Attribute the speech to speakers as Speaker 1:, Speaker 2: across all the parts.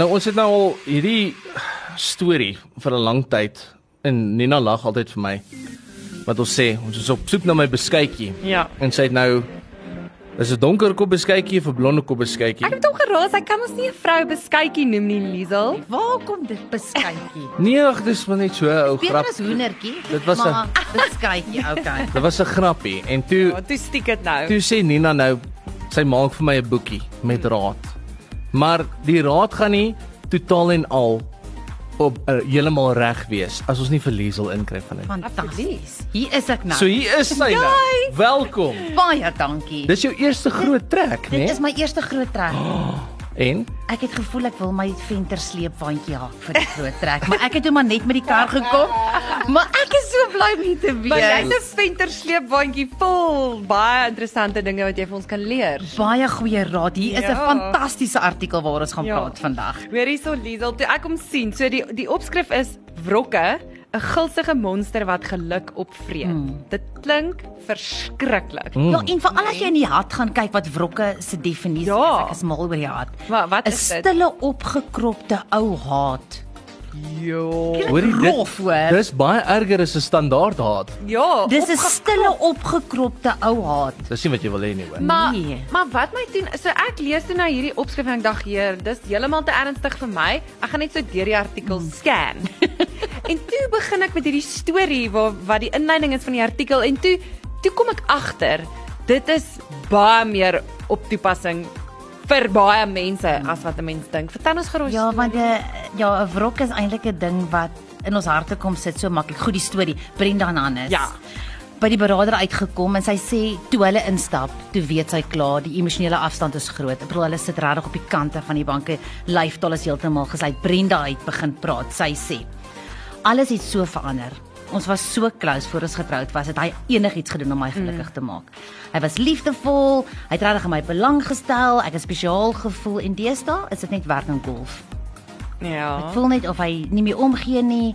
Speaker 1: Nou ons het nou al hierdie storie vir 'n lang tyd en Nina lag altyd vir my. Wat ons sê, ons is op soek na my beskuitjie.
Speaker 2: Ja.
Speaker 1: En sy het nou is 'n donker kop beskuitjie of 'n blonde kop beskuitjie?
Speaker 2: Ek het hom geraas, ek kan ons nie 'n vrou beskuitjie noem nie, Liesel.
Speaker 3: Waar kom dit beskuitjie?
Speaker 1: Nee, ag, dis maar net so 'n ou grap.
Speaker 3: Beter as hoendertjie.
Speaker 1: Dit was 'n-
Speaker 3: maar beskuitjie, okay.
Speaker 1: Dit was 'n grappie en toe
Speaker 2: toe stiek dit nou.
Speaker 1: toe sê Nina nou sy maak vir my 'n boekie
Speaker 3: Hmm.
Speaker 1: met raad. Maar die raad gaan nie totaal en al op uh, heeltemal reg wees as ons nie vir Liesel inkry van dit.
Speaker 3: Fantasties. Hier is ek nou.
Speaker 1: So hier is sy nou.
Speaker 2: Yay!
Speaker 1: Welkom.
Speaker 3: Baie dankie.
Speaker 1: Dis jou eerste groot trek,
Speaker 3: Dit
Speaker 1: né?
Speaker 3: is my eerste groot trek.
Speaker 1: En
Speaker 3: Ek het gevoel ek wil my venter sleepwandjie haak vir die groot trek, maar ek het hom maar net met die kar gekom. Maar ek is so bly om hier te
Speaker 2: Maar jy's
Speaker 3: wees.
Speaker 2: 'n venter sleepwandjie vol baie interessante dinge wat jy vir ons kan leer.
Speaker 3: Baie goeie raad. Hier is 'n
Speaker 2: Ja.
Speaker 3: fantastiese artikel waar ons gaan
Speaker 2: Ja.
Speaker 3: praat vandag.
Speaker 2: Hoor hierso Liesel, toe ek hom sien, so die die opskrif is wrokke, 'n gulsige monster wat geluk opvreet.
Speaker 3: Mm.
Speaker 2: Dit klink verskriklik.
Speaker 3: Ja, en veral as jy in die hart gaan kyk wat wrokke se definisie
Speaker 2: Ja.
Speaker 3: is, ek is mal oor die hart.
Speaker 2: Maar wat
Speaker 3: 'n
Speaker 2: is dit?
Speaker 3: Stille opgekropte ou haat.
Speaker 2: Jo.
Speaker 1: hoorie
Speaker 3: Rof, hoor.
Speaker 1: Dis baie erger as 'n standaard haat.
Speaker 2: Ja.
Speaker 3: Dis 'n stille opgekropte ou haat.
Speaker 1: Dis nie wat jy wil hê nie, hoor.
Speaker 2: Maar
Speaker 3: Nee.
Speaker 2: maar wat my doen, so ek lees toe nou hierdie opskrif en ek dink, "Heer, dis heeltemal te ernstig vir my. Ek gaan net so deur die artikel
Speaker 3: Mm.
Speaker 2: scan." en toe begin ek met hierdie storie waar wat die inleiding is van die artikel en toe toe kom ek agter, dit is baie meer op toepassing vir baie mense as wat 'n mens dink. Vertel ons gerus.
Speaker 3: Ja, want 'n ja, 'n wrok is eintlik 'n ding wat in ons harte kom sit so maklik. Goed die storie Brenda Hannes.
Speaker 2: Ja.
Speaker 3: By die beraader uitgekom en sy sê toe hulle instap, toe weet sy klaar, die emosionele afstand is groot. Ek bedoel hulle sit regtig op die kante van die banke, lyftaal is heeltemal gesluit. Brenda het begin praat. Sy sê: Alles het so verander. Ons was so close voor ons getroud was, het hy enigiets gedoen om my gelukkig te maak. Hy was liefdevol, hy het regtig in my belang gestel, ek het spesiaal gevoel en deesdae is dit net werk en golf.
Speaker 2: ja.
Speaker 3: Ek voel net of hy nie meer omgee nie.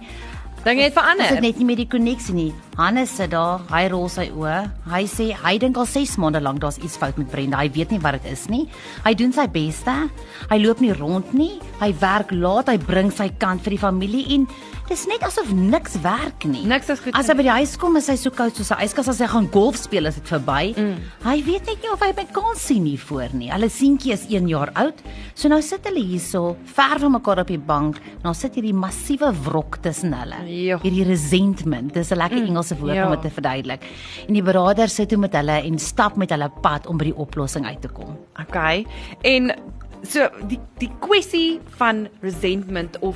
Speaker 2: Dink jy het verander?
Speaker 3: Is dit net nie meer die koneksie nie. Hannes sit daar, hy rol sy oë. Hy sê hy dink al 6 maande lank daar's iets fout met Brenda. Hy weet nie wat dit is nie. Hy doen sy beste. Hy loop nie rond nie. Hy werk laat, hy bring sy kant vir die familie en dis net asof niks werk nie.
Speaker 2: Niks is goed
Speaker 3: As hy
Speaker 2: nie.
Speaker 3: by die huis kom is hy so koud soos 'n yskas as hy gaan golf speel is dit verby. Mm. Hy weet net nie of hy met kans sien nie voor nie. Hulle seentjie is 1 jaar oud. So nou sit hulle hierso, ver van mekaar op die bank. Nou sit hierdie massiewe wrok tussen hulle.
Speaker 2: Jo.
Speaker 3: Hierdie resentment, dis 'n lekker Engelse woord
Speaker 2: ja.
Speaker 3: om dit te verduidelik. En die beraader sit toe met hulle en stap met hulle pad om by die oplossing uit te kom.
Speaker 2: Okay. En so die die kwessie van resentment of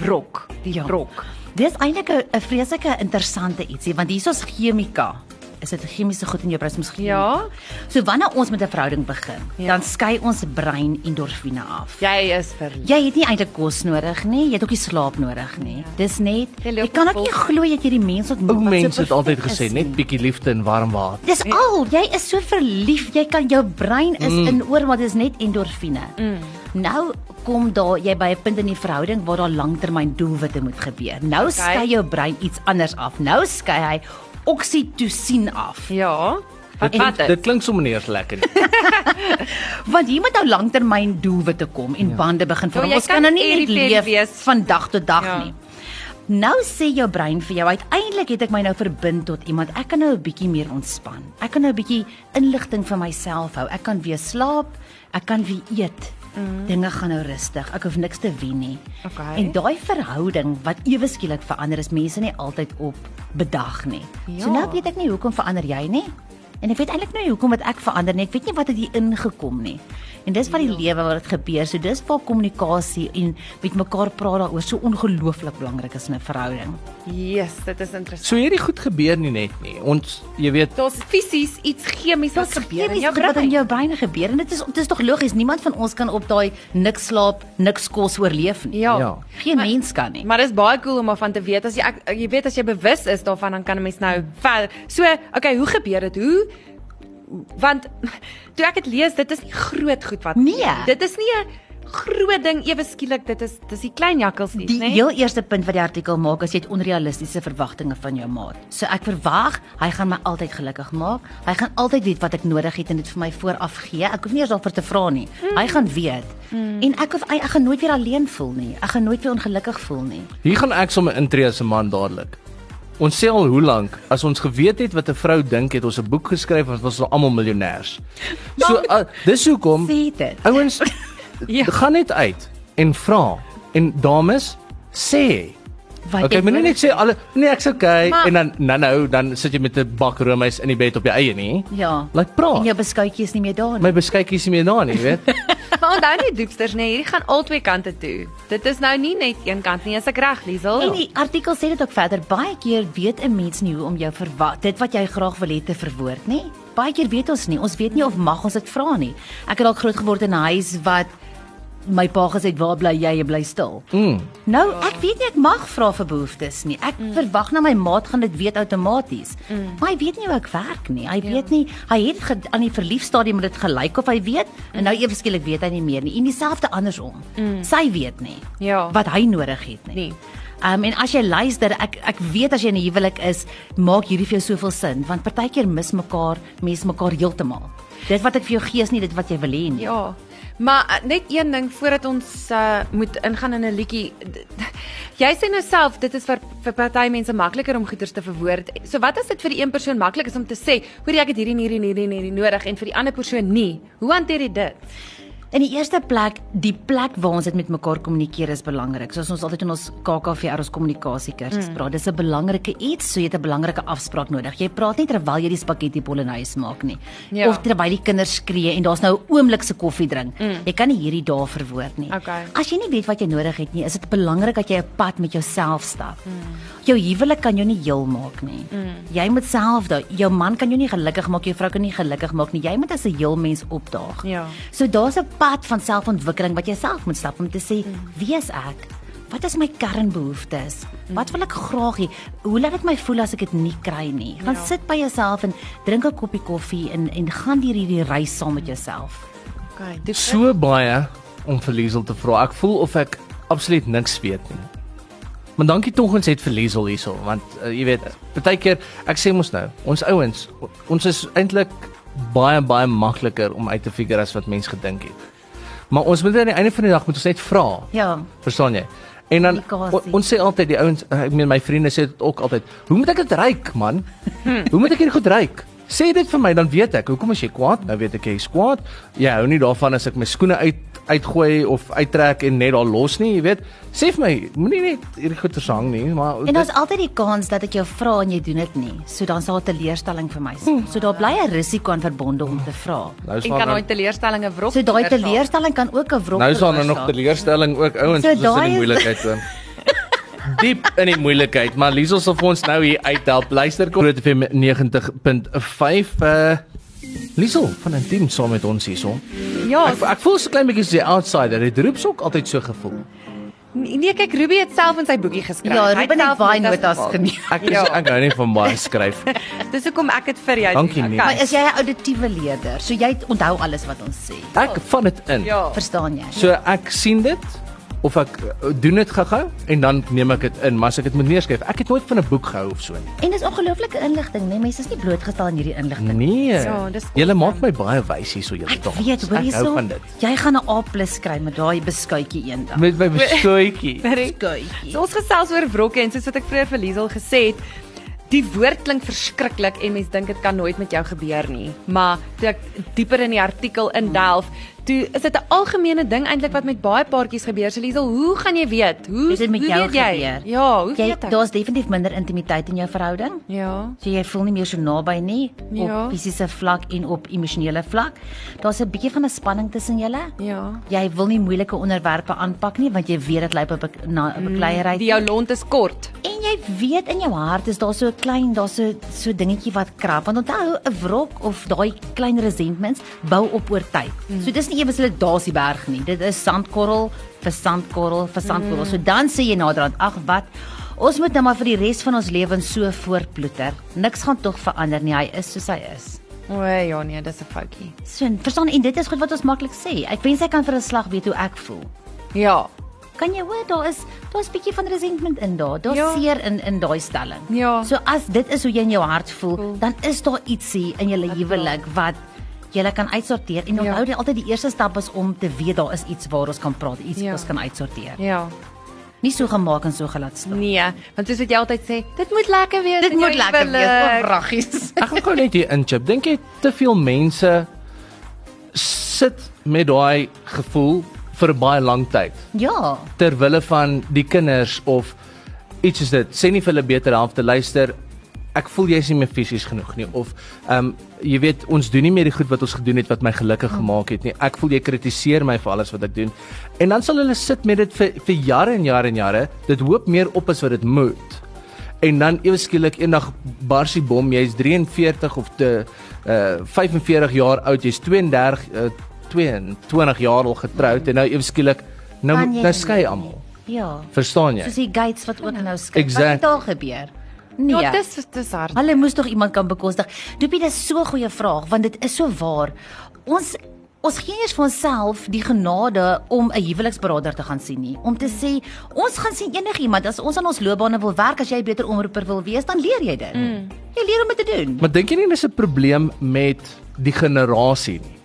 Speaker 2: wrok, die
Speaker 3: Ja.
Speaker 2: wrok.
Speaker 3: Dis eintlik 'n 'n vreeslike interessante ietsie want hierso's chemika. Is dit chemiese goed in jou brein miskien?
Speaker 2: Ja.
Speaker 3: So wanneer ons met 'n verhouding begin,
Speaker 2: Ja.
Speaker 3: ja. dan skei ons brein endorfine af. Ja.
Speaker 2: Jy is verlief.
Speaker 3: Jy het nie eintlik kos nodig nie, jy het ook nie slaap nodig nie. Dis net
Speaker 2: Ja. Jy loop
Speaker 3: jy kan ook nie
Speaker 2: vol-
Speaker 3: glo dat jy die mens ontmoet
Speaker 1: Ou
Speaker 3: wat so
Speaker 1: mense het altyd
Speaker 3: perfek is
Speaker 1: gesê net
Speaker 3: nie.
Speaker 1: bietjie liefde en warm water.
Speaker 3: Dis al, jy is so verlief, jy kan jou brein is Nee. mm. in oor want dit is net endorfine. Mm. Nou kom daar jy by 'n punt in die verhouding waar daar langtermyn doelwitte moet gebeur. Nou okay. skei jou brein iets anders af. Nou skei hy oksitosien af.
Speaker 2: Ja. Wat
Speaker 1: klink-
Speaker 2: wat
Speaker 1: dit
Speaker 2: dit?
Speaker 1: klink sommer nie eers lekker nie.
Speaker 3: Want hier moet nou langtermyn doelwitte kom en ja. bande begin vorm.
Speaker 2: jy
Speaker 3: Ja, Ons kan
Speaker 2: kan
Speaker 3: nou nie net
Speaker 2: irritant
Speaker 3: leef
Speaker 2: wees.
Speaker 3: van dag tot dag
Speaker 2: Ja.
Speaker 3: ja. nie. Nou sê jou brein vir jou, uiteindelik het ek my nou verbind tot iemand. Ek kan nou 'n bietjie meer ontspan. Ek kan nou 'n bietjie inligting vir myself hou. Ek kan weer slaap, ek kan weer eet. Mm. Dinge gaan nou rustig. Ek hoef niks te wen nie.
Speaker 2: Mhm. Okay.
Speaker 3: En daai verhouding wat ewe skielik verander is mense nie altyd op bedag nie.
Speaker 2: Ja.
Speaker 3: So nou weet ek nie hoekom verander jy nie. En ek weet eintlik nou nie hoekom wat ek verander nie. Ek weet nie wat het hier ingekom nie. En dis
Speaker 2: Ja.
Speaker 3: wat die lewe wat dit gebeur. So dis waar kommunikasie en met mekaar praat daaroor so ongelooflik belangrik is in 'n verhouding.
Speaker 2: Yes, dit is interessant.
Speaker 1: So hierdie goed gebeur nie net nie. Ons jy weet
Speaker 2: Daar's fisies iets chemies wat
Speaker 3: Wat
Speaker 2: gebeur in
Speaker 3: is
Speaker 2: jou
Speaker 3: dit wat in
Speaker 2: brein.
Speaker 3: jou brein gebeur? En dit is dit is tog logies. Niemand van ons kan op daai niks slaap, niks kos oorleef nie.
Speaker 2: Ja.
Speaker 1: Ja.
Speaker 3: Geen maar, mens kan nie.
Speaker 2: Maar dis baie cool om daarvan te weet as jy ek, jy weet as jy bewus is daarvan dan kan 'n mens nou ver. So, okay, hoe gebeur dit? Hoe want toe ek dit lees, dit is nie groot goed wat
Speaker 3: Nee.
Speaker 2: Dit is nie 'n groot ding ewe skielik dit is dis die klein jakkelsies,
Speaker 3: Die
Speaker 2: né?
Speaker 3: heel eerste punt wat die artikel maak is jy het onrealistiese verwagtinge van jou maat. So ek verwag hy gaan my altyd gelukkig maak. Hy gaan altyd weet wat ek nodig het en dit vir my vooraf gee. Ek hoef nie eers daarvoor te vra nie. Hy gaan weet. En ek hoef ek gaan nooit weer alleen voel nie. Ek gaan nooit weer ongelukkig voel nie.
Speaker 1: Hier gaan ek sommer intree as 'n man dadelik. Ons sê al hoe lank as ons geweet het wat 'n vrou dink het ons 'n boek geskryf want ons was almal miljonêers. So uh, dis hoekom
Speaker 3: Sê dit.
Speaker 1: ouens
Speaker 2: Ja.
Speaker 1: gaan net uit en vra en dames sê
Speaker 3: Wat
Speaker 1: Okay,
Speaker 3: jy
Speaker 1: moenie net
Speaker 3: nodig-
Speaker 1: sê alle nee, ek's okay
Speaker 2: Maar-
Speaker 1: en dan dan nou dan sit jy met 'n bak roomys in die bed op jou eie nie.
Speaker 3: Ja.
Speaker 1: Laat
Speaker 3: En jou
Speaker 1: praat.
Speaker 3: beskuitjie is nie meer daar nie.
Speaker 1: My beskykie is nie meer daar nie, weet.
Speaker 2: Maar onthou net doeksters, né? Hierdie gaan albei kante toe. Dit is nou nie net een kant nie, is ek reg, Liesel?
Speaker 3: En die artikel sê dit ook verder baie keer weet 'n mens nie hoe om jou verwag dit wat jy graag wil hê te verwoord nie. Baie keer weet ons nie. Ons weet nie of mag ons dit vra nie. Ek het dalk groot geword in 'n huis wat my pa gesê het, "Waar bly jy? Jy bly stil."
Speaker 1: Mm.
Speaker 3: Nou, ek weet nie ek mag vra vir behoeftes nie. Ek
Speaker 2: Mm.
Speaker 3: verwag na my maat gaan dit weet outomaties. Maar hy weet nie hoe ek werk nie. Hy
Speaker 2: Ja.
Speaker 3: weet nie. Hy het ge- aan die verlief stadium dit gelyk of hy weet
Speaker 2: Mm.
Speaker 3: en nou ewe skielik weet hy nie meer nie. En dieselfde andersom. Sy weet nie
Speaker 2: Ja.
Speaker 3: wat hy nodig het nie.
Speaker 2: Nee.
Speaker 3: Um en as jy luister, ek ek weet as jy in 'n huwelik is, maak hierdie vir jou soveel sin want partykeer mis mekaar, mense mekaar heeltemal. Dit wat ek vir jou gee is nie dit wat jy wil hê nie.
Speaker 2: Ja. Maar eh, net een ding voordat ons uh, moet ingaan in 'n liedjie. D- d- Jy sê nou self dit is vir vir party mense makliker om goeders te verwoord. So wat as dit vir die een persoon maklik is om te sê, hoor jy ek het hierdie en hierdie en hierdie en hierdie nodig en vir die ander persoon nie. Hoe hanteer jy dit?
Speaker 3: In die eerste plek, die plek waar ons dit met mekaar kommunikeer is belangrik. Soos ons altyd in ons KKVR ons kommunikasiekursus mm. praat, dis 'n belangrike iets, so jy het 'n belangrike afspraak nodig. Jy praat nie terwyl jy die spaghetti bolognese maak nie,
Speaker 2: Ja.
Speaker 3: of terwyl die kinders skree en daar's nou 'n oomblik se koffie drink. Mm. Jy kan nie hierdie dae verwoord nie.
Speaker 2: Okay.
Speaker 3: As jy nie weet wat jy nodig het nie, is dit belangrik dat jy 'n pad met jouself stap. Mm. Jou huwelik kan jou nie heel maak nie. Mm. Jy moet self daai jou man kan jou nie gelukkig maak, jou vrou kan nie gelukkig maak nie. Jy moet as 'n heel mens opdaag.
Speaker 2: Ja.
Speaker 3: So daar's 'n pad van selfontwikkeling wat jy self moet stap om te sê,
Speaker 2: Mm.
Speaker 3: wie is ek? Wat is my kernbehoeftes?
Speaker 2: Mm.
Speaker 3: Wat wil ek graag hê? Hoe laat dit my voel as ek dit nie kry nie? Gaan
Speaker 2: Ja.
Speaker 3: sit by jouself en drink 'n koppie koffie en en gaan deur hierdie reis saam met jouself.
Speaker 2: Okay, dit
Speaker 1: so baie om vir Liesel te vra. Ek voel of ek absoluut niks weet nie. Maar dankie tog ons het vir Liesel hierso want uh, jy weet, baie keer ek sê mos nou, ons ouens, o- ons is eintlik baie baie makliker om uit te figure as wat mens gedink het. Maar ons moet aan die einde van die dag moet ons net vra.
Speaker 3: Ja.
Speaker 1: Verstaan jy? En dan
Speaker 3: Kommunikasie.
Speaker 1: o, ons sê altyd die ouens, eh, ek meen my vriende sê dit ook altyd, hoe moet ek dit ryk man? hoe moet ek hierdie goed ryk? Sê dit vir my dan weet ek. Hoekom as jy kwaad? Nou weet ek jy's kwaad. Jy hou nie daarvan as ek my skoene uit uitgooi of uittrek en net daar los nie, jy weet. Sê vir my, moenie net hierdie goeie sang nie, maar
Speaker 3: En
Speaker 1: dit-
Speaker 3: daar's altyd die kans dat ek jou vra en jy doen dit nie. So dan's daar 'n teleurstelling vir my. So daar bly 'n risiko aan verbonde om te vra.
Speaker 1: nou is
Speaker 2: en
Speaker 1: daar
Speaker 2: kan
Speaker 1: nou-
Speaker 2: daai teleurstellinge wrok.
Speaker 3: So daai
Speaker 2: veroorsaak.
Speaker 3: teleurstelling kan ook 'n wrok
Speaker 1: Nou is daar nou nog
Speaker 3: veroorsaak.
Speaker 1: teleurstelling ook ouens,
Speaker 3: So
Speaker 1: so, dis
Speaker 3: daai
Speaker 1: in die
Speaker 3: is-
Speaker 1: moeilikheid hoor. Diep in die moeilikheid, maar Liesel sal vir ons nou hier uithelp. Luister kom Groot FM 90.5 uh Liesel van Intiem saam met ons hierson.
Speaker 2: Ja,
Speaker 1: Ek ek voel so klein bietjie so die outsider. Dit roeps ook altyd so gevoel.
Speaker 2: nee kyk Ruby het self in sy boekie geskryf.
Speaker 3: Ja,
Speaker 2: Hy
Speaker 3: Ruben het
Speaker 2: self
Speaker 3: baie
Speaker 2: notas
Speaker 3: notas
Speaker 2: gemaak.
Speaker 3: geneem.
Speaker 1: Ek is,
Speaker 2: Ja.
Speaker 1: ek hou nie van baie skryf.
Speaker 2: Dis hoekom ek dit vir jou
Speaker 1: Dankie, nee.
Speaker 2: Okay.
Speaker 3: Maar is jy 'n auditiewe leerder? So jy onthou alles wat ons sê.
Speaker 1: Ek vat dit in.
Speaker 2: Ja.
Speaker 3: Verstaan jy?
Speaker 1: So ek sien dit of ek uh, doen dit gou-gou en dan neem ek dit in, maar as ek dit moet neerskryf, ek het nooit van 'n boek gehou of so nie.
Speaker 3: En dis ongelooflike inligting, né? Nee, mense is nie blootgestel aan hierdie inligting.
Speaker 1: Nee.
Speaker 2: Ja, dis
Speaker 1: Julle maak my baie wys hierso julle
Speaker 3: Ek
Speaker 1: dames.
Speaker 3: weet, hoor
Speaker 1: Mm, Ek hou
Speaker 3: hierso.
Speaker 1: van dit.
Speaker 3: Jy gaan 'n A+ kry met daai beskuitjie eendag.
Speaker 1: Met my bestoetjie.
Speaker 2: Correct.
Speaker 3: Beskuitjie.
Speaker 2: So ons gesels oor wrokke en soos wat ek vroeër vir Liesel gesê het, die woord klink verskriklik en mens dink dit kan nooit met jou gebeur nie. Maar toe ek dieper in die artikel indelf, toe is dit 'n algemene ding eintlik wat met baie paartjies gebeur. So Liesel, hoe gaan jy weet? Hoe
Speaker 3: Dis dit met
Speaker 2: hoe
Speaker 3: jou
Speaker 2: weet jy?
Speaker 3: gebeur.
Speaker 2: Ja, hoe
Speaker 3: Jy
Speaker 2: weet ek?
Speaker 3: daar's definitief minder intimiteit in jou verhouding.
Speaker 2: Ja.
Speaker 3: So jy voel nie meer so naby nie op
Speaker 2: Ja.
Speaker 3: fisiese vlak en op emosionele vlak. Daar's 'n bietjie van 'n spanning tussen julle.
Speaker 2: Ja.
Speaker 3: Jy wil nie moeilike onderwerpe aanpak nie want jy weet dit lei op 'n na 'n bekleierery.
Speaker 2: Mm, Die jou lont is kort.
Speaker 3: En jy weet in jou hart is daar so 'n klein, daar's so so dingetjie wat krap. Want onthou, 'n wrok of daai klein resentments bou op oor tyd. Mm. So dis nie eers 'n lidasie berg nie. Dit is sandkorrel vir sandkorrel vir sandkorrel. Mm. So dan sê jy naderhand, ag wat Ons moet nou maar vir die res van ons lewens so voortploeter. Niks gaan tog verander nie. Hy is soos hy is.
Speaker 2: O ja nee, dis 'n foutjie.
Speaker 3: So, verstaan en dit is goed wat ons maklik sê. Ek wens ek kan vir 'n slag weet hoe ek voel.
Speaker 2: Ja.
Speaker 3: Kan jy hoor daar is daar's bietjie van resentment in daar. Daar's
Speaker 2: Ja.
Speaker 3: seer in in daai stelling.
Speaker 2: Ja.
Speaker 3: So as dit is hoe jy in jou hart voel,
Speaker 2: Voel.
Speaker 3: dan is daar ietsie in julle
Speaker 2: Wat
Speaker 3: huwelik wat jy kan uitsorteer en
Speaker 2: Ja.
Speaker 3: onthou ja. altyd die eerste stap is om te weet daar is iets waar ons kan praat, iets
Speaker 2: Ja.
Speaker 3: wat ons kan uitsorteer.
Speaker 2: Ja.
Speaker 3: Nie so gemaak en so gelaat staan.
Speaker 2: Nee, want soos wat jy altyd sê, dit moet lekker wees.
Speaker 3: Dit
Speaker 2: in jou
Speaker 3: moet lekker wees,
Speaker 2: huwelik.
Speaker 3: o, wraggies.
Speaker 1: Ek gaan gou net hier inchip. Dink jy te veel mense sit met daai gevoel vir 'n baie lang tyd
Speaker 3: Ja.
Speaker 1: ter wille van die kinders of iets soos dit. Sê nie vir hulle beter half te luister. Ek voel jy's nie meer fisies genoeg nie of ehm um, jy weet ons doen nie meer die goed wat ons gedoen het wat my gelukkig gemaak het nie. Ek voel jy kritiseer my vir alles wat ek doen. En dan sal hulle sit met dit vir vir jare en jare en jare. Dit hoop meer op as wat dit moet en dan ewe skielik eendag bars die bom jy's 43 of te uh 45 jaar oud jy's 32 uh, 22 jaar al getroud en nou ewe skielik nou
Speaker 3: Kan
Speaker 1: nou
Speaker 3: jy nie
Speaker 1: skei
Speaker 3: meer
Speaker 1: almal
Speaker 3: nie. Ja.
Speaker 1: verstaan jy
Speaker 3: Soos die gates wat ook nou skei.
Speaker 1: Exact.
Speaker 3: Wat het daar gebeur? Nee.
Speaker 2: Ja, dis dis hard.
Speaker 3: Hulle moes tog iemand kan bekostig. Doopie, dis so 'n goeie vraag want dit is so waar. Ons ons gee eers vir onsself die genade om 'n huweliksberader te gaan sien nie. Om te sê, ons gaan sien enigiemand as ons aan ons loopbane wil werk, as jy 'n beter omroeper wil wees, dan leer jy dit. Mm. Jy leer om dit te doen.
Speaker 1: maar dink jy nie dis 'n probleem met die generasie nie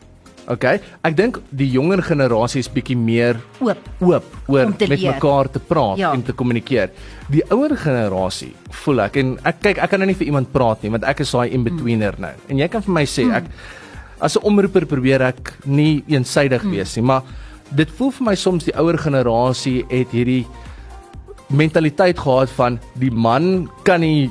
Speaker 1: OK ek dink die jonger generasie is bietjie meer
Speaker 3: Oop.
Speaker 1: oop oor
Speaker 3: Om te
Speaker 1: met
Speaker 3: leer.
Speaker 1: mekaar te praat
Speaker 3: Ja.
Speaker 1: en te kommunikeer. Die ouer generasie voel ek en ek kyk ek kan nou nie vir iemand praat nie want ek is daai
Speaker 3: Mm.
Speaker 1: in-betweener nou. En jy kan vir my sê ek as 'n omroeper probeer ek nie eensydig
Speaker 3: Mm.
Speaker 1: wees nie, maar dit voel vir my soms die ouer generasie het hierdie mentaliteit gehad van die man kan nie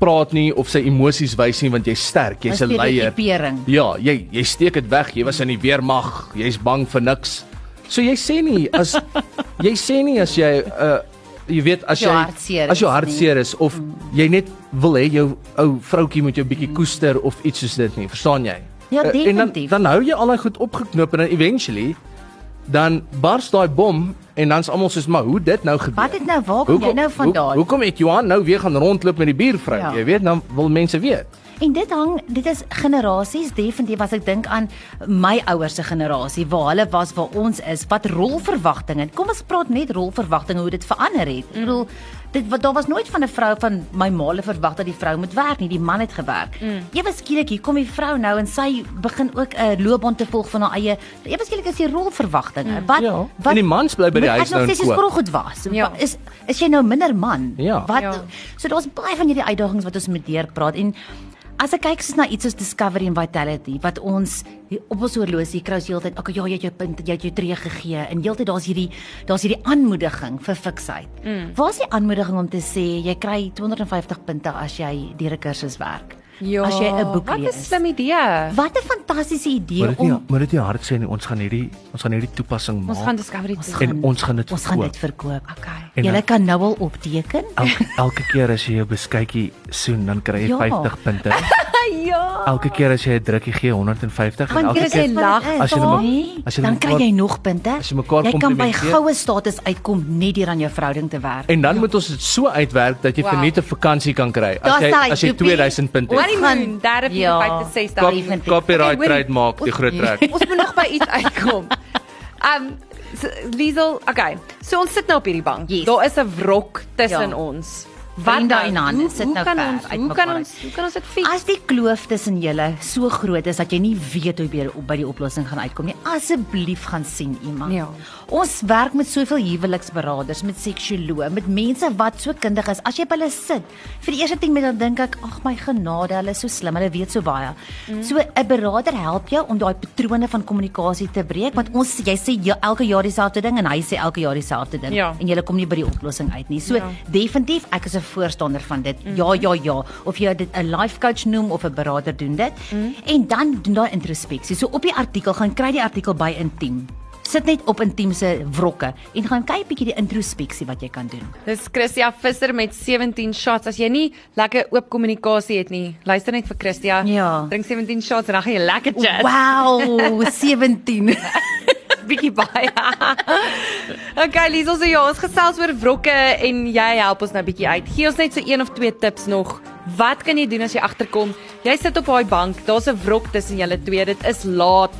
Speaker 1: praat nie of sy emosies wys nie want jy's sterk, jy's 'n leier.
Speaker 3: Pering.
Speaker 1: Ja, jy jy steek dit weg. Jy was in die weermag. Jy's bang vir niks. So jy sê nie as jy sê nie as jy uh jy weet as
Speaker 3: Jou
Speaker 1: jy
Speaker 3: hart seer
Speaker 1: as jou
Speaker 3: is
Speaker 1: hart
Speaker 3: nie. Mm.
Speaker 1: seer is of jy net wil hê jou ou vroutjie moet jou bietjie koester of iets soos dit nie. Verstaan jy?
Speaker 3: Ja,
Speaker 1: Uh,
Speaker 3: definitief.
Speaker 1: En dan dan hou jy al daai goed opgeknoop en dan eventually dan bars daai bom en dan's almal soos maar hoe dit nou gebeur.
Speaker 3: Wat het nou waar kom jy nou vandaan?
Speaker 1: Hoe, hoekom het Johan nou weer gaan rondloop met die buurvrou?
Speaker 3: Ja.
Speaker 1: Ja. Jy weet, dan wil mense weet.
Speaker 3: En dit hang, dit is generasies definitief as ek dink aan my ouers se generasie waar hulle was waar ons is, wat rolverwagtinge. Kom ons praat net rolverwagtinge hoe dit verander het. Ek bedoel dit wat daar was nooit van 'n vrou van my maale verwag dat die vrou moet werk nie, die man het gewerk. Mm. Ewe skielik hier kom die vrou nou en sy begin ook 'n loopbaan te volg van haar eie. Ewe skielik is die rolverwagtinge. Wat
Speaker 1: Ja.
Speaker 3: wat
Speaker 1: En die mans bly by die
Speaker 3: moet
Speaker 1: huis nou
Speaker 3: Ek
Speaker 1: en
Speaker 3: nog sê
Speaker 1: koop.
Speaker 3: jy goed was.
Speaker 2: Ja.
Speaker 3: Ja. Is is jy nou minder man?
Speaker 1: Ja.
Speaker 3: Wat
Speaker 2: Ja.
Speaker 3: So daar's baie van hierdie uitdagings wat ons moet deurpraat en as ek kyk soos na iets soos Discovery and Vitality wat ons hier op ons horlosie kry ons heeltyd, okay, ja, jy het jou punt, jy het jou tree gegee en heeltyd daar's hierdie daar's hierdie aanmoediging vir fiksheid. Mm. Waar's die aanmoediging om te sê jy kry 250 punte as jy deur 'n kursus werk? as jy 'n boek
Speaker 2: Ja. wat
Speaker 3: lees.
Speaker 2: 'n slim idee.
Speaker 3: Wat 'n fantastiese idee
Speaker 1: Moet dit nie
Speaker 3: om
Speaker 1: moet dit nie hard sê nie. Ons gaan hierdie ons gaan hierdie toepassing maak.
Speaker 2: Ons gaan Discovery
Speaker 3: Ons
Speaker 2: toe.
Speaker 3: gaan-
Speaker 1: en ons gaan dit
Speaker 3: ons gaan
Speaker 1: verkoop.
Speaker 3: dit verkoop.
Speaker 2: Okay.
Speaker 1: En
Speaker 3: Jy
Speaker 1: dan-
Speaker 3: kan nou al opteken.
Speaker 1: Elke, elke keer as jy jou beskuitjie soen, dan kry jy
Speaker 3: Ja.
Speaker 1: ja. 50 punte.
Speaker 2: Ja.
Speaker 1: Elke keer as jy 'n drukkie gee, 150 en elke
Speaker 2: dit
Speaker 1: keer
Speaker 2: jy lag,
Speaker 1: as jy
Speaker 3: dan,
Speaker 1: nou- as jy
Speaker 3: dan
Speaker 1: mekaar-
Speaker 3: kry jy nog punte.
Speaker 1: as jy mekaar
Speaker 3: jy kan by
Speaker 1: komplimenteer.
Speaker 3: goue status uitkom net deur aan jou verhouding te werk.
Speaker 1: en dan moet ons dit so uitwerk dat jy
Speaker 2: Wow.
Speaker 1: wow. verniet 'n vakansie kan kry as
Speaker 3: Daar's
Speaker 1: jy
Speaker 3: hy,
Speaker 1: as jy
Speaker 3: Joepie.
Speaker 1: 2000 punte
Speaker 2: Wat
Speaker 1: het.
Speaker 2: die
Speaker 3: gaan-
Speaker 2: moon, daar op die
Speaker 3: Ja.
Speaker 2: 5 te 6
Speaker 1: Kop-
Speaker 2: daai.
Speaker 3: Definitief.
Speaker 1: Copyright
Speaker 2: Okay, hoorie,
Speaker 1: trademark, die groot trek.
Speaker 2: Ons moet nog by iets uitkom. Um so, Liesel, okay. So ons sit nou op hierdie bank.
Speaker 3: Yes.
Speaker 2: Daar is 'n wrok tussen
Speaker 3: Ja.
Speaker 2: ons.
Speaker 3: Vriende
Speaker 2: nou?
Speaker 3: en hande
Speaker 2: Hoe-
Speaker 3: sit
Speaker 2: hoe
Speaker 3: nou
Speaker 2: kan
Speaker 3: ver
Speaker 2: ons,
Speaker 3: uit
Speaker 2: Hoe
Speaker 3: mekaar
Speaker 2: kan
Speaker 3: uit.
Speaker 2: ons hoe kan ons dit fix?
Speaker 3: As die kloof tussen julle so groot is dat jy nie weet hoe jy by die oplossing gaan uitkom nie, asseblief gaan sien iemand.
Speaker 2: Ja.
Speaker 3: Ons werk met soveel huweliksberaders, met seksioloë, met mense wat so kundig is. As jy by hulle sit, vir die eerste 10 minute dan dink ek, ag my genade, hulle is so slim, hulle weet so baie. Mm. So 'n beraader help jou om daai patrone van kommunikasie te breek, want ons jy sê jy, elke jaar dieselfde ding en hy sê elke jaar dieselfde ding
Speaker 2: Ja.
Speaker 3: en jy kom nie by die oplossing uit nie. So
Speaker 2: Ja. Mhm.
Speaker 3: ja. definitief ek is 'n voorstander van dit. Mm. Ja, ja, ja, of jy dit 'n life coach noem of 'n beraader doen dit.
Speaker 2: Mhm.
Speaker 3: Mm. En dan doen daai introspeksie. So op die artikel gaan kry die artikel by Intiem. Sit net op Intiem se wrokke en gaan kyk bietjie die introspeksie wat jy kan doen.
Speaker 2: Dis Christia Visser met 17 shots. As jy nie lekker oop kommunikasie het nie, luister net vir Christia.
Speaker 3: Ja.
Speaker 2: Drink 17 shots en dan gaan jy lekker chat.
Speaker 3: Wow, 17.
Speaker 2: bietjie baie. okay, Liesel, so ja, ons gesels oor wrokke en jy help ons nou bietjie uit. Gee ons net so een of twee tips nog Wat kan jy doen as jy agterkom? Jy sit op daai bank, daar's 'n wrok tussen julle twee. Dit is laat.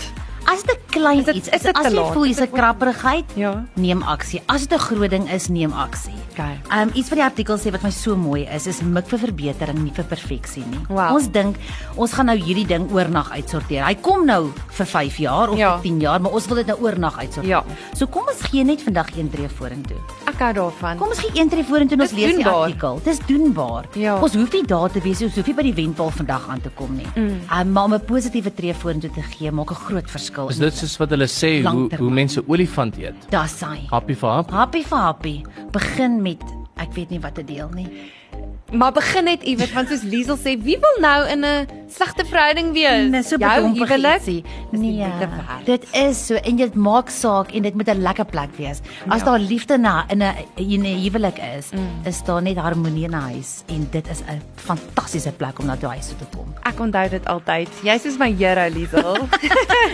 Speaker 3: As dit 'n klein
Speaker 2: Is dit-
Speaker 3: iets
Speaker 2: is
Speaker 3: is,
Speaker 2: dit
Speaker 3: as
Speaker 2: te
Speaker 3: jy
Speaker 2: laat?
Speaker 3: voel jy's 'n krapperigheid,
Speaker 2: Ja.
Speaker 3: neem aksie. As dit 'n groot ding is, neem aksie.
Speaker 2: Okay.
Speaker 3: Um iets wat die artikel sê wat my so mooi is, is mik vir verbetering, nie vir perfeksie nie.
Speaker 2: Wow.
Speaker 3: Ons dink ons gaan nou hierdie ding oornag uitsorteer. Hy kom nou vir 5 jaar of
Speaker 2: Ja.
Speaker 3: vir 10 jaar, maar ons wil dit nou oornag uitsorteer.
Speaker 2: Ja.
Speaker 3: So kom ons gee net vandag een tree vorentoe.
Speaker 2: Ek hou daarvan.
Speaker 3: Kom ons gee een tree vorentoe en ons
Speaker 2: Dis
Speaker 3: lees die
Speaker 2: doenbaar.
Speaker 3: artikel. Dis doenbaar.
Speaker 2: Ja.
Speaker 3: Ons hoef nie daar te wees, ons hoef nie by die wenpaal vandag aan te kom nie. Mm. Um, maar om 'n positiewe tree vorentoe te gee, maak 'n groot verskil.
Speaker 1: Is dit soos wat hulle sê hoe
Speaker 3: Langtermyn.
Speaker 1: hoe mense olifant eet?
Speaker 3: Daar's hy.
Speaker 1: Happy vir hap.
Speaker 3: Happy vir happy. Begin met ek weet nie wat te deel nie.
Speaker 2: Maar begin net iewers want soos Liesel sê, wie wil nou in 'n slegte verhouding wees?
Speaker 3: Dis so
Speaker 2: Jou
Speaker 3: bedompig
Speaker 2: huwelik
Speaker 3: ietsie.
Speaker 2: is nie
Speaker 3: Nee.
Speaker 2: moeite werd.
Speaker 3: Dit is so en dit maak saak en dit moet 'n lekker plek wees. As
Speaker 2: Ja.
Speaker 3: daar liefde na in 'n in 'n huwelik is, mm. is daar net harmonie in 'n huis en dit is 'n fantastiese plek om na daai huis toe te kom.
Speaker 2: Ek onthou dit altyd. Jy's soos my hero, Liesel.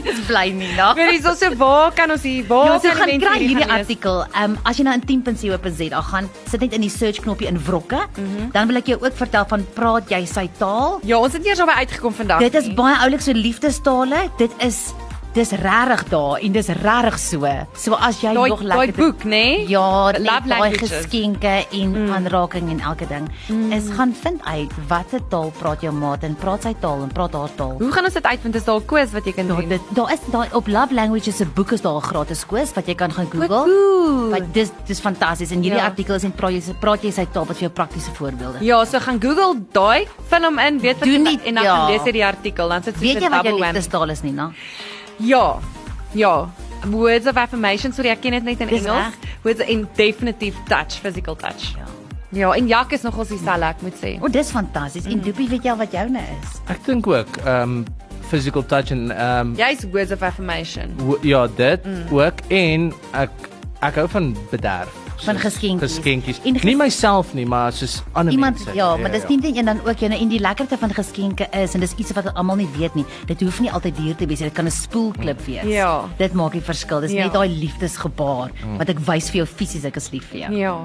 Speaker 3: Dis bly nie, daar.
Speaker 2: Vir Liesel so waar kan ons hier?
Speaker 3: Ja,
Speaker 2: Waar
Speaker 3: so
Speaker 2: kan die
Speaker 3: gaan
Speaker 2: mense
Speaker 3: kry hierdie
Speaker 2: gaan lees?
Speaker 3: artikel. Ehm um, as jy nou in 10.co.za gaan, sit net in die search knoppie in wrokke, mm -hmm. dan wil ek jou ook vertel van praat jy sy taal?
Speaker 2: Ja, ons het nie eers daarby uitgekom vandag.
Speaker 3: Dit is
Speaker 2: nie.
Speaker 3: baie oulik so liefdestale. Dit is dis regtig daar en dis regtig so. So as jy
Speaker 2: daai
Speaker 3: nog
Speaker 2: daai
Speaker 3: lekker
Speaker 2: boek, nê?
Speaker 3: Ja, net
Speaker 2: Love
Speaker 3: daai
Speaker 2: Languages.
Speaker 3: geskenke en mm. aanraking en elke ding. Mm. Is gaan vind uit watter taal praat jou maat en praat sy taal en praat haar taal.
Speaker 2: Hoe gaan ons dit uitvind? Is daar 'n quiz wat jy kan
Speaker 3: Daar
Speaker 2: doen?
Speaker 3: Ja, dit daar is daai op Love Languages se boek is daar 'n gratis koers wat jy kan gaan Google.
Speaker 2: Cool.
Speaker 3: Wat dis dis fantasties en hierdie
Speaker 2: Ja.
Speaker 3: ja. artikel is en praat jy praat jy sy taal wat vir jou praktiese voorbeelde. Ja.
Speaker 2: Ja, so gaan Google daai, vul hom in, weet wat
Speaker 3: Doen
Speaker 2: jy-
Speaker 3: dit,
Speaker 2: en dan
Speaker 3: ja.
Speaker 2: gaan lees jy die artikel, dan sit
Speaker 3: Weet
Speaker 2: soos
Speaker 3: jy
Speaker 2: 'n
Speaker 3: wat jou
Speaker 2: double whammy.
Speaker 3: liefdestaal is nie, na?
Speaker 2: Ja. Ja. Words of affirmation, sorry, ek ken dit net in
Speaker 3: Dis
Speaker 2: Engels.
Speaker 3: reg.
Speaker 2: Words in definitive touch, physical touch.
Speaker 3: Ja.
Speaker 2: Ja, en Jak is nogals dieselfde, ek moet sê.
Speaker 3: O, dis fantasties. Mm. En Doopie, weet jy al wat joune is?
Speaker 1: Ek dink ook ehm um, physical touch en ehm um,
Speaker 2: Jy's words of affirmation.
Speaker 1: wo- ja, dit
Speaker 3: Mm.
Speaker 1: ook en ek ek hou van bederf.
Speaker 3: Van
Speaker 1: Soos
Speaker 3: geskenkies.
Speaker 1: Geskenkies.
Speaker 3: En ges-
Speaker 1: nie myself nie, maar soos ander
Speaker 3: Iemand
Speaker 1: mense.
Speaker 3: ja, maar dis nie net een dan ook joune en die lekkerte van geskenke is en dis iets wat almal nie weet nie. Dit hoef nie altyd duur te wees nie. Dit kan 'n spoelklip
Speaker 1: Mm.
Speaker 3: wees.
Speaker 2: Ja.
Speaker 3: Dit maak die verskil. Dis
Speaker 2: Ja.
Speaker 3: net daai liefdesgebaar
Speaker 1: Mm.
Speaker 3: wat ek wys vir jou fisies ek is lief vir jou.
Speaker 2: Ja.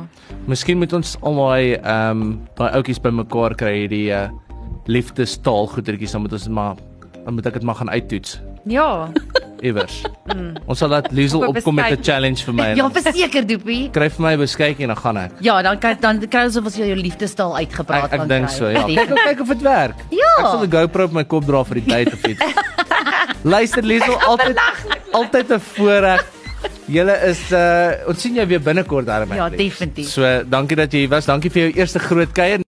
Speaker 1: Miskien moet ons al daai ehm um, daai ouetjies bymekaar kry hierdie uh, liefdestaal goedertjies dan moet ons dit maar dan moet ek dit maar gaan uittoets
Speaker 2: Ja.
Speaker 1: iewers. Ons sal laat Liesel
Speaker 2: Op 'n
Speaker 1: opkom met 'n
Speaker 2: beskuitjie.
Speaker 1: challenge vir my. en
Speaker 3: Mm. Ja,
Speaker 1: dan
Speaker 3: verseker Doopie.
Speaker 1: Kry vir my 'n beskuitjie en dan gaan ek.
Speaker 3: Ja, dan kan dan kry ons of ons jou liefdestaal uitgepraat
Speaker 1: Ek, ek
Speaker 3: kan
Speaker 1: dink
Speaker 3: kry.
Speaker 1: so ja. Kyk
Speaker 3: Definitief.
Speaker 1: of kyk of dit werk.
Speaker 3: Ja.
Speaker 1: Ek sal 'n GoPro op my kop dra vir die tyd of iets. Luister Liesel altyd altyd 'n voorreg. Julle is uh ons sien jou weer binnekort daarmee.
Speaker 3: Ja, definitief.
Speaker 1: So, dankie dat jy hier was. Dankie vir jou eerste groot kuier.